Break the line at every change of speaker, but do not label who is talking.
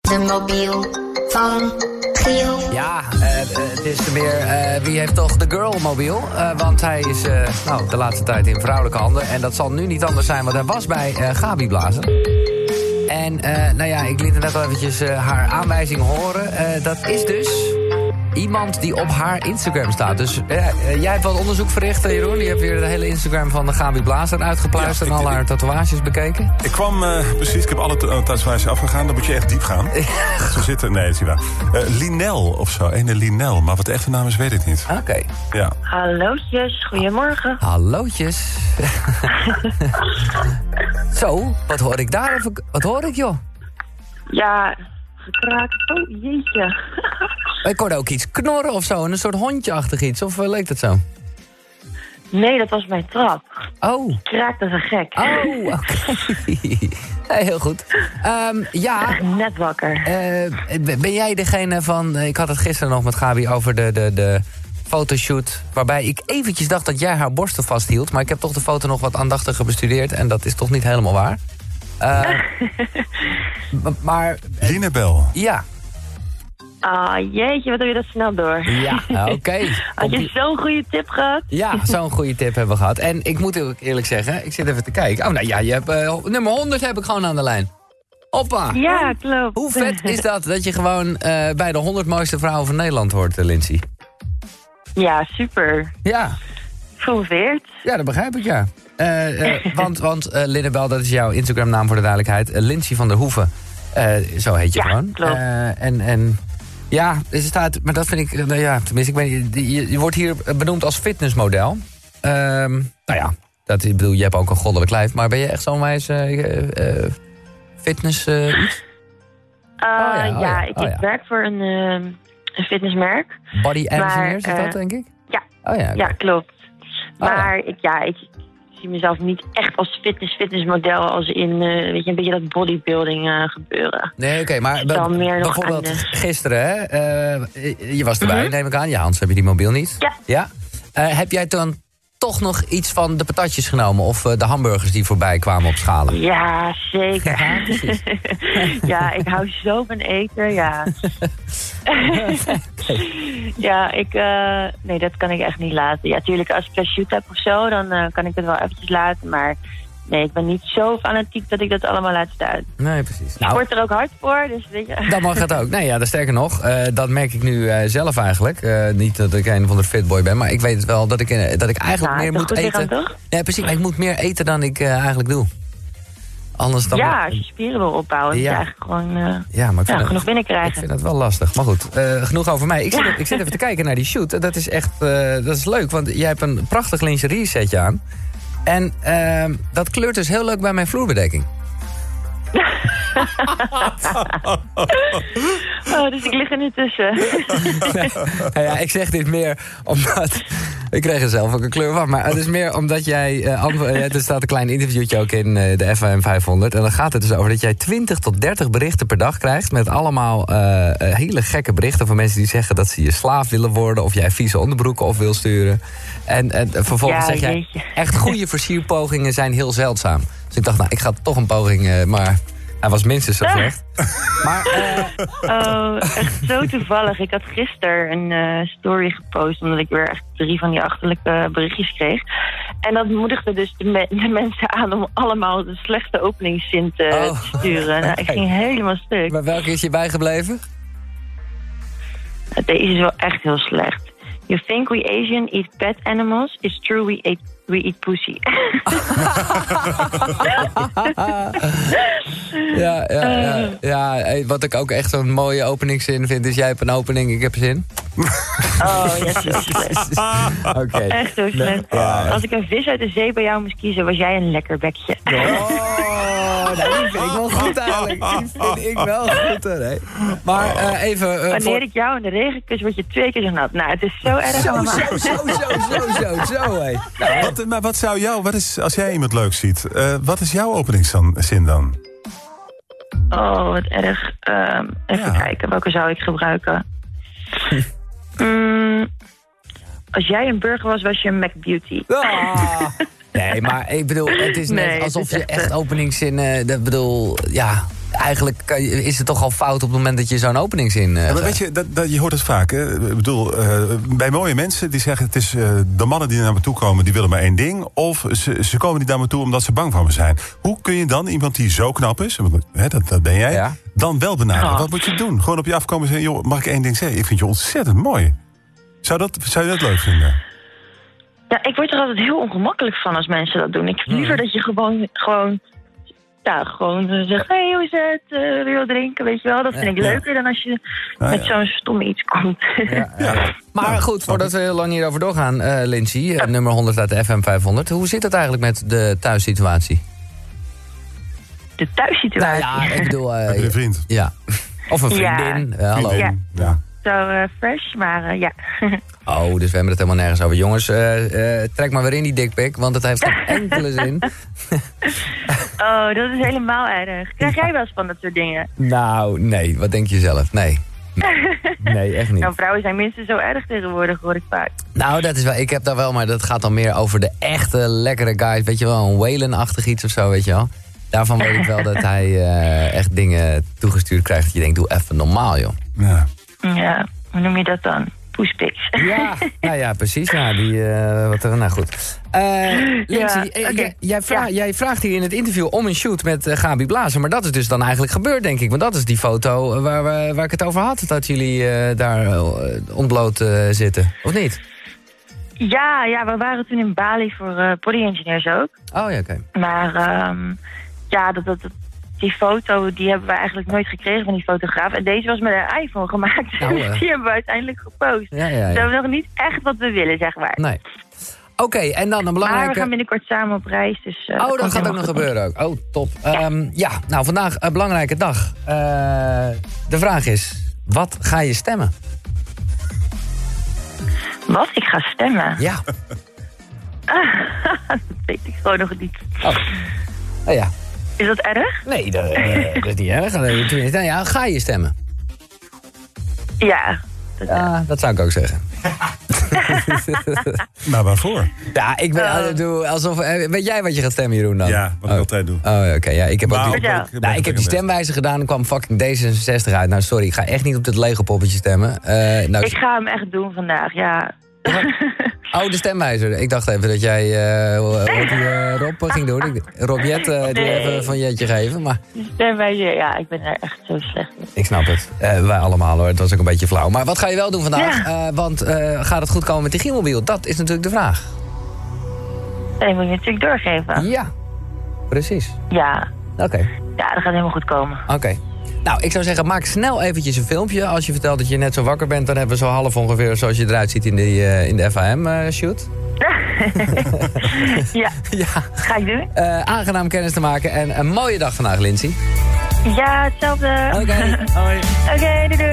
De mobiel van Giel.
Ja, eh, het is weer eh, wie heeft toch de girl mobiel? Eh, want hij is eh, nou, de laatste tijd in vrouwelijke handen. En dat zal nu niet anders zijn, want hij was bij eh, Gabi Blazen. En eh, nou ja, ik liet er net al eventjes eh, haar aanwijzing horen. Eh, dat is dus iemand die op haar Instagram staat. Dus eh, eh, jij hebt wat onderzoek verricht, eh, Jeroen. Je hebt weer de hele Instagram van de Gabi Blazer uitgepluisterd...
Ja,
en
ik-
al haar tatoeages bekeken.
Ik kwam eh, precies, ik heb alle ta- tatoeages afgegaan. Dan moet je echt diep gaan. Zo zitten, nee, dat is niet waar. Eh, Linel of zo, ene Linel. Maar wat de echte naam is, weet ik niet.
Oké.
Ja.
Hallootjes, goedemorgen.
Hallootjes. Zo, wat hoor ik daar? Even, wat hoor ik, joh?
Ja, gekraakt. Oh, jeetje.
Ik hoorde ook iets knorren of zo, en een soort hondjeachtig iets. Of eh, leek dat zo?
Nee, dat was mijn trap.
Oh,
Kraakt als een gek.
oh, oké. Nee, heel goed. Ehm, ja,
Net wakker.
eh, ben jij degene van... eh, Ik had het gisteren nog met Gabi over de, de, de fotoshoot... waarbij ik eventjes dacht dat jij haar borsten vasthield... maar ik heb toch de foto nog wat aandachtiger bestudeerd... en dat is toch niet helemaal waar. Eh, m- maar
Linebel.
ja,
Ah, jeetje, wat doe je dat snel door.
Ja, oké.
Had je
Compli-
zo'n goede tip gehad?
Ja, zo'n goede tip hebben we gehad. En ik moet ook eerlijk zeggen, ik zit even te kijken. Oh, nou ja, je hebt, eh, nummer 100 heb ik gewoon aan de lijn. Hoppa!
Ja, klopt.
Hoe vet is dat, dat je gewoon eh, bij de 100 mooiste vrouwen van Nederland hoort, eh, Lindsay?
Ja, super.
Ja,
Geprobeerd.
ja, dat begrijp ik, ja. Eh, eh, want want eh, Linnebel, dat is jouw Instagram-naam voor de duidelijkheid. Eh, Lindsay van der Hoeven, eh, zo heet je
Ja,
gewoon.
klopt.
Eh, en, en ja, ze staat, maar dat vind ik, eh, nou ja, tenminste, ik weet, niet, je, je wordt hier eh, benoemd als fitnessmodel. Ehm, nou ja, dat, ik bedoel, je hebt ook een goddelijk lijf, maar ben je echt zo'n wijs eh, eh, fitness eh, iets?
Ah,
ja,
ja,
oh ja,
ik,
oh
ik
ja.
werk voor een, ehm, een fitnessmerk.
Body engineer, is dat
eh,
denk ik?
ja.
Oh ja, oké. Oh
Ja, klopt.
ja.
Maar Ik, ja, ik zie mezelf niet echt als fitness, fitnessmodel als in eh, weet je, een beetje dat bodybuilding eh, gebeuren.
Nee, oké, maar be-
Dan meer nog
bijvoorbeeld
anders.
gisteren, hè? eh, je was erbij, neem ik aan. Ja, anders heb je die mobiel niet.
Mhm. Ja.
Eh, heb jij dan toch nog iets van de patatjes genomen of eh, de hamburgers die voorbij kwamen op schalen?
Ja, zeker.
Ja, precies.
ja, ik hou zo van eten, ja. ja, ik... eh, nee, dat kan ik echt niet laten. Ja, tuurlijk, als ik een shoot heb of zo, dan eh, kan ik het wel eventjes laten. Maar nee, ik ben niet zo fanatiek dat ik dat allemaal laat staan.
Nee, precies.
Ik
Nou,
word er ook hard voor, dus weet je...
dat mag het ook. Nee, ja, dat sterker nog, eh, dat merk ik nu eh, zelf eigenlijk. Eh, niet dat ik een van de fitboy ben, maar ik weet het wel dat ik, eh, dat ik eigenlijk
Ja,
meer
toch
moet
Nou, goed lichaam,
eten.
toch?
Nee, precies, maar ik moet meer eten dan ik eh, eigenlijk doe. Anders dan.
ja, als je spieren wil opbouwen,
Ja.
moet je eigenlijk gewoon eh,
Ja, maar ik vind
ja,
dat-
genoeg binnenkrijgen.
Ik vind dat wel lastig. Maar goed, eh, genoeg over mij. Ik zit, ik zit even te kijken naar die shoot. En Dat is echt eh, dat is leuk, want jij hebt een prachtig lingerie setje aan. En ehm, dat kleurt dus heel leuk bij mijn vloerbedekking.
Oh, dus ik lig er nu tussen.
Nou ja, ik zeg dit meer omdat... Ik kreeg er zelf ook een kleur van. Maar het is meer omdat jij... eh, antwo- eh, er staat een klein interviewtje ook in eh, de FAM 500. En dan gaat het dus over dat jij 20 tot 30 berichten per dag krijgt... met allemaal eh, eh, hele gekke berichten van mensen die zeggen... dat ze je slaaf willen worden of jij vieze onderbroeken op wil sturen. En, en vervolgens
Ja,
zeg jij...
jeetje.
Echt goede versierpogingen zijn heel zeldzaam. Dus ik dacht, nou, ik ga toch een poging... eh, maar hij was minstens zo slecht. Maar... eh,
Oh, echt zo toevallig. Ik had gisteren een eh, story gepost, omdat ik weer echt drie van die achterlijke berichtjes kreeg. En dat moedigde dus de, me- de mensen aan om allemaal de slechte openingszin te,
Oh.
te sturen. Nou, ik
Kijk.
ging helemaal stuk.
maar welke is je bijgebleven?
Deze is wel echt heel slecht. You think we Asian eat pet animals? It's true we eat, we eat pussy.
Oh, Ja, ja,
Eh.
ja, ja. Hey, Wat ik ook echt zo'n mooie openingszin vind, is jij hebt een opening, ik heb zin.
Oh, ja, zo slecht.
Oké.
Echt zo slecht.
Ah,
Als ik een vis uit de zee bij jou moest kiezen, was jij een lekker bekje.
Oh, nou, die vind ik wel goed eigenlijk. Die vind ik wel goed, hoor, hè. Maar eh, even... eh,
Wanneer
voor-
ik jou in de regen kus, word je twee keer zo nat. Nou, het is zo erg
Zo,
allemaal.
zo, zo, zo, zo, zo, zo, hé. Nou,
Wat, eh, maar wat zou jou, wat is, als jij iemand leuk ziet, eh, wat is jouw openingszin dan?
Oh, wat erg. Ehm, even
Ja.
kijken, welke zou ik gebruiken? Mm, als jij een burger was, was je een McBeauty.
ah. Nee, maar ik bedoel, het is net
Nee, het
alsof
is
je
echt, eh,
echt openingszinnen... Dat bedoel, ja... eigenlijk kan je- is het toch al fout op het moment dat je zo'n openingszin... eh,
Ja, maar
gaat.
weet je, dat, dat, je hoort het vaak. Hè? Ik bedoel, eh, bij mooie mensen die zeggen... het is eh, de mannen die naar me toe komen, die willen maar één ding. Of ze, ze komen niet naar me toe omdat ze bang van me zijn. Hoe kun je dan iemand die zo knap is, want, hè, dat, dat ben jij...
Ja.
dan wel benaderen?
Ah.
Wat moet je doen? Gewoon op je afkomen en zeggen... joh, mag ik één ding zeggen? Ik vind je ontzettend mooi. Zou, dat, zou je dat leuk vinden?
Eh,
Ja, ik word er altijd heel ongemakkelijk van als mensen dat doen. Ik heb
Hmm.
liever dat je gewoon, gewoon, ja, gewoon eh, zegt... hey, hoe is het? Eh, wil je wat drinken? Weet je wel, dat vind ik
ja.
leuker dan als je
Ah,
met
ja.
zo'n stom iets komt.
Ja, ja.
Ja.
Maar
Nou,
goed,
snap
voordat
ik.
we heel lang hierover doorgaan, eh Lindsay, eh, nummer 100 uit de FM 500. Hoe zit het eigenlijk met de thuissituatie?
De thuissituatie.
ja, ik bedoel... eh,
Heb je een vriend?
ja. Of een vriendin. eh, hallo.
Vriendin? ja.
Zo eh, fresh, maar eh, ja.
Oh, dus we hebben het helemaal nergens over. Jongens, eh, eh, trek maar weer in die dikpik, want het heeft geen enkele zin.
Oh, dat is helemaal erg. Krijg jij wel eens van dat soort dingen?
Nou, nee. Wat denk je zelf? Nee. Nee, nee, echt niet.
Nou, vrouwen zijn minstens zo erg tegenwoordig, hoor ik vaak.
Nou, dat is wel, ik heb daar wel, maar dat gaat dan meer over de echte lekkere guys. Weet je wel, een Waylon-achtig iets of zo, weet je wel. Daarvan weet ik wel dat hij eh, echt dingen toegestuurd krijgt. Dat je denkt, doe even normaal, joh.
ja.
Ja, hoe noem je dat dan? Poespiks.
Mm. Ja, nou ja, precies. Ja, die, eh, wat er, nou goed. Eh Lindsay, eh,
oké.
jij, jij vra-
Ja.
jij vraagt hier in het interview om een shoot met eh, Gabi Blazen. Maar dat is dus dan eigenlijk gebeurd, denk ik. Want dat is die foto eh, waar, we- waar ik het over had. Dat jullie eh, daar eh, ontbloot eh, zitten. Of niet?
Ja, ja, we waren toen in Bali voor eh body engineers ook.
Oh ja, oké.
Maar ehm, ja, dat, dat, dat- die foto die hebben we eigenlijk nooit gekregen van die fotograaf. En deze was met een iPhone gemaakt.
Nou, eh.
Dus die hebben we uiteindelijk gepost.
Ja, ja, Nou,
Dus we
ja.
hebben nog niet echt wat we willen, zeg maar.
Nee. Oké, en dan een
maar
belangrijke...
we gaan binnenkort samen op reis. Dus, eh,
Oh, dat
komt
gaat ook
helemaal
nog
goed.
gebeuren ook. Oh, top. Ehm, ja, nou vandaag een belangrijke dag. Eh, de vraag is, wat ga je stemmen?
Wat? Ik ga stemmen.
Ja.
Dat weet ik gewoon nog niet.
Oh. Nou ja.
Is dat erg?
Nee, dat, eh, dat is niet erg. Eh, tenminste, Nou ja, ga je stemmen?
Ja. Dat-
Ja, dat zou ik ook zeggen.
Maar Nou, waarvoor?
Ja, ik ben, eh, doe alsof... eh, Weet jij wat je gaat stemmen, Jeroen, dan?
Ja, wat ik
Oh.
altijd doe.
Oh, oké. ja, ik heb ook
Maar
die-
ook ben ik-
Nou,
ben
Nou, ik heb die
een beetje-
stemwijzer gedaan en kwam fucking D66 uit. Nou, sorry, ik ga echt niet op dit Lego poppetje stemmen. Eh, nou,
Ik ga hem echt doen vandaag, ja.
Oh, de stemwijzer. Ik dacht even dat jij eh, hoe- hoe heet die, eh, Rob eh, ging doen. Ik- Rob Jet, eh, die
Nee.
even van Jetje geven. Maar
Stem bij je. Ja, ik ben er echt zo slecht in.
ik snap het. Eh, wij allemaal hoor. Het was ook een beetje flauw. Maar wat ga je wel doen vandaag? Eh, want eh, gaat het goed komen met die Gielmobiel? Dat is natuurlijk de vraag.
Dat moet je natuurlijk doorgeven.
Ja, precies.
Ja.
Oké,
Ja, dat gaat helemaal goed komen.
oké. Nou, ik zou zeggen, maak snel eventjes een filmpje. Als je vertelt dat je net zo wakker bent, dan hebben we zo half ongeveer zoals je eruit ziet in, die, eh, in de FAM-shoot.
Ja,
ja,
ga ik doen.
Eh, aangenaam kennis te maken en een mooie dag vandaag, Lindsay.
Ja, hetzelfde.
Oké,
Oké,
hoi.
doei doei.